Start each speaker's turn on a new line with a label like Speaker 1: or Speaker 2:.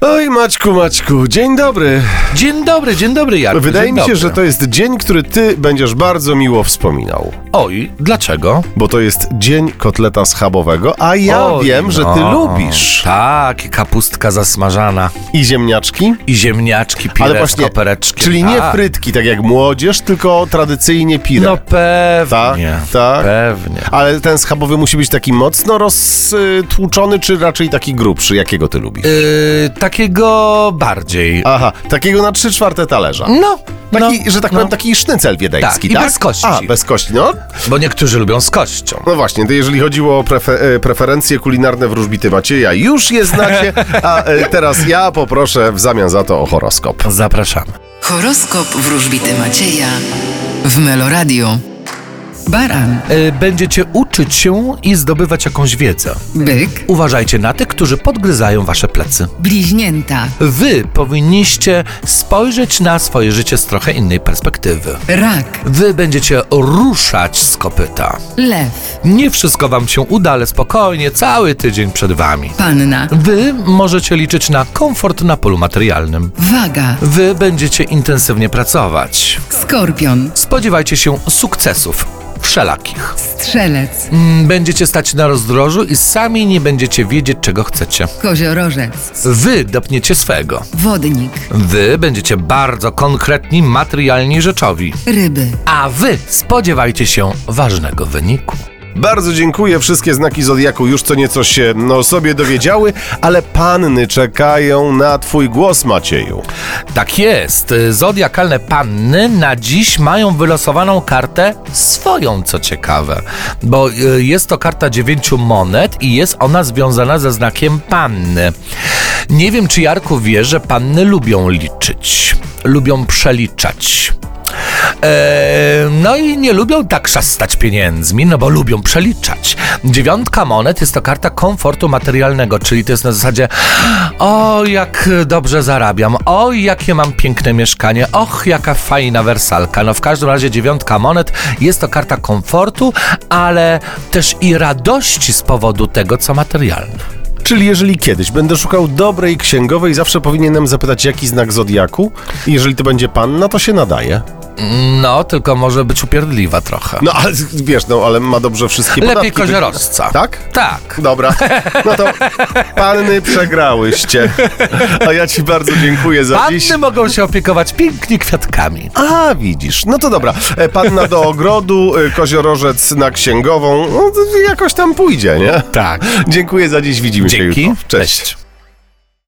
Speaker 1: Oj, Maćku, Maćku, dzień dobry.
Speaker 2: Dzień dobry, dzień dobry, Jarku.
Speaker 1: Wydaje
Speaker 2: dzień
Speaker 1: mi się,
Speaker 2: dobry.
Speaker 1: że to jest dzień, który ty będziesz bardzo miło wspominał.
Speaker 2: Oj, dlaczego?
Speaker 1: Bo to jest dzień kotleta schabowego, a ja
Speaker 2: Oj,
Speaker 1: wiem, że ty
Speaker 2: no.
Speaker 1: lubisz.
Speaker 2: Tak, kapustka zasmażana
Speaker 1: I ziemniaczki?
Speaker 2: i ziemniaczki, pire
Speaker 1: Ale właśnie,
Speaker 2: z kopereczkiem.
Speaker 1: czyli nie
Speaker 2: tak.
Speaker 1: frytki, tak jak młodzież, tylko tradycyjnie pire.
Speaker 2: No
Speaker 1: tak,
Speaker 2: pewnie,
Speaker 1: tak.
Speaker 2: pewnie.
Speaker 1: Ale ten schabowy musi być taki mocno roztłuczony, czy raczej taki grubszy? Jakiego ty lubisz?
Speaker 2: Yy, takiego bardziej.
Speaker 1: Aha, takiego na trzy czwarte talerza.
Speaker 2: No,
Speaker 1: Taki,
Speaker 2: no,
Speaker 1: że tak
Speaker 2: no.
Speaker 1: powiem, taki sznycel wiedeński,
Speaker 2: Tak, i
Speaker 1: tak?
Speaker 2: bez kości.
Speaker 1: A, bez kości, no.
Speaker 2: Bo niektórzy lubią z kością.
Speaker 1: No właśnie, to jeżeli chodziło o prefe, e, preferencje kulinarne wróżbity Macieja, już je znacie, a e, teraz ja poproszę w zamian za to o horoskop.
Speaker 2: Zapraszamy.
Speaker 3: Horoskop wróżbity Macieja w Meloradio. Baran,
Speaker 2: Yy, będziecie uczyć się i zdobywać jakąś wiedzę.
Speaker 3: byk,
Speaker 2: Uważajcie na tych, którzy podgryzają wasze plecy.
Speaker 3: bliźnięta,
Speaker 2: Wy powinniście spojrzeć na swoje życie z trochę innej perspektywy.
Speaker 3: rak,
Speaker 2: Wy będziecie ruszać z kopyta.
Speaker 3: lew,
Speaker 2: Nie wszystko wam się uda, ale spokojnie, cały tydzień przed wami.
Speaker 3: panna,
Speaker 2: Wy możecie liczyć na komfort na polu materialnym.
Speaker 3: waga,
Speaker 2: Wy będziecie intensywnie pracować.
Speaker 3: skorpion,
Speaker 2: Spodziewajcie się sukcesów wszelakich.
Speaker 3: strzelec,
Speaker 2: Mm, Będziecie stać na rozdrożu i sami nie będziecie wiedzieć, czego chcecie.
Speaker 3: koziorożec,
Speaker 2: Wy dopniecie swego.
Speaker 3: wodnik,
Speaker 2: Wy będziecie bardzo konkretni, materialni i rzeczowi.
Speaker 3: ryby.
Speaker 2: A wy spodziewajcie się ważnego wyniku.
Speaker 1: Bardzo dziękuję, wszystkie znaki Zodiaku już co nieco się no, sobie dowiedziały, ale panny czekają na twój głos, Macieju.
Speaker 2: Tak jest. Zodiakalne panny na dziś mają wylosowaną kartę swoją, co ciekawe, bo y, jest to karta dziewięciu monet i jest ona związana ze znakiem panny. Nie wiem, czy Jarku wie, że panny lubią liczyć, lubią przeliczać. E, No i nie lubią tak szastać pieniędzmi, no bo lubią przeliczać. Dziewiątka monet jest to karta komfortu materialnego, czyli to jest na zasadzie o, jak dobrze zarabiam, o, jakie mam piękne mieszkanie, och, jaka fajna wersalka. No w każdym razie dziewiątka monet jest to karta komfortu, ale też i radości z powodu tego, co materialne.
Speaker 1: Czyli jeżeli kiedyś będę szukał dobrej księgowej, zawsze powinienem zapytać, jaki znak Zodiaku? I jeżeli to będzie panna, to się nadaje.
Speaker 2: No, tylko może być upierdliwa trochę.
Speaker 1: No ale wiesz, no ale ma dobrze wszystkie
Speaker 2: Lepiej
Speaker 1: podatki.
Speaker 2: koziorożca.
Speaker 1: Tak?
Speaker 2: Tak.
Speaker 1: Dobra, no to panny przegrałyście. A ja ci bardzo dziękuję za dziś.
Speaker 2: Panny mogą się opiekować pięknie kwiatkami.
Speaker 1: A, widzisz. No to dobra. E, Panna do ogrodu, e, koziorożec na księgową. No, to jakoś tam pójdzie, nie?
Speaker 2: Tak.
Speaker 1: Dziękuję za dziś. Widzimy się
Speaker 2: Dzięki.
Speaker 1: jutro. Cześć.
Speaker 2: Cześć.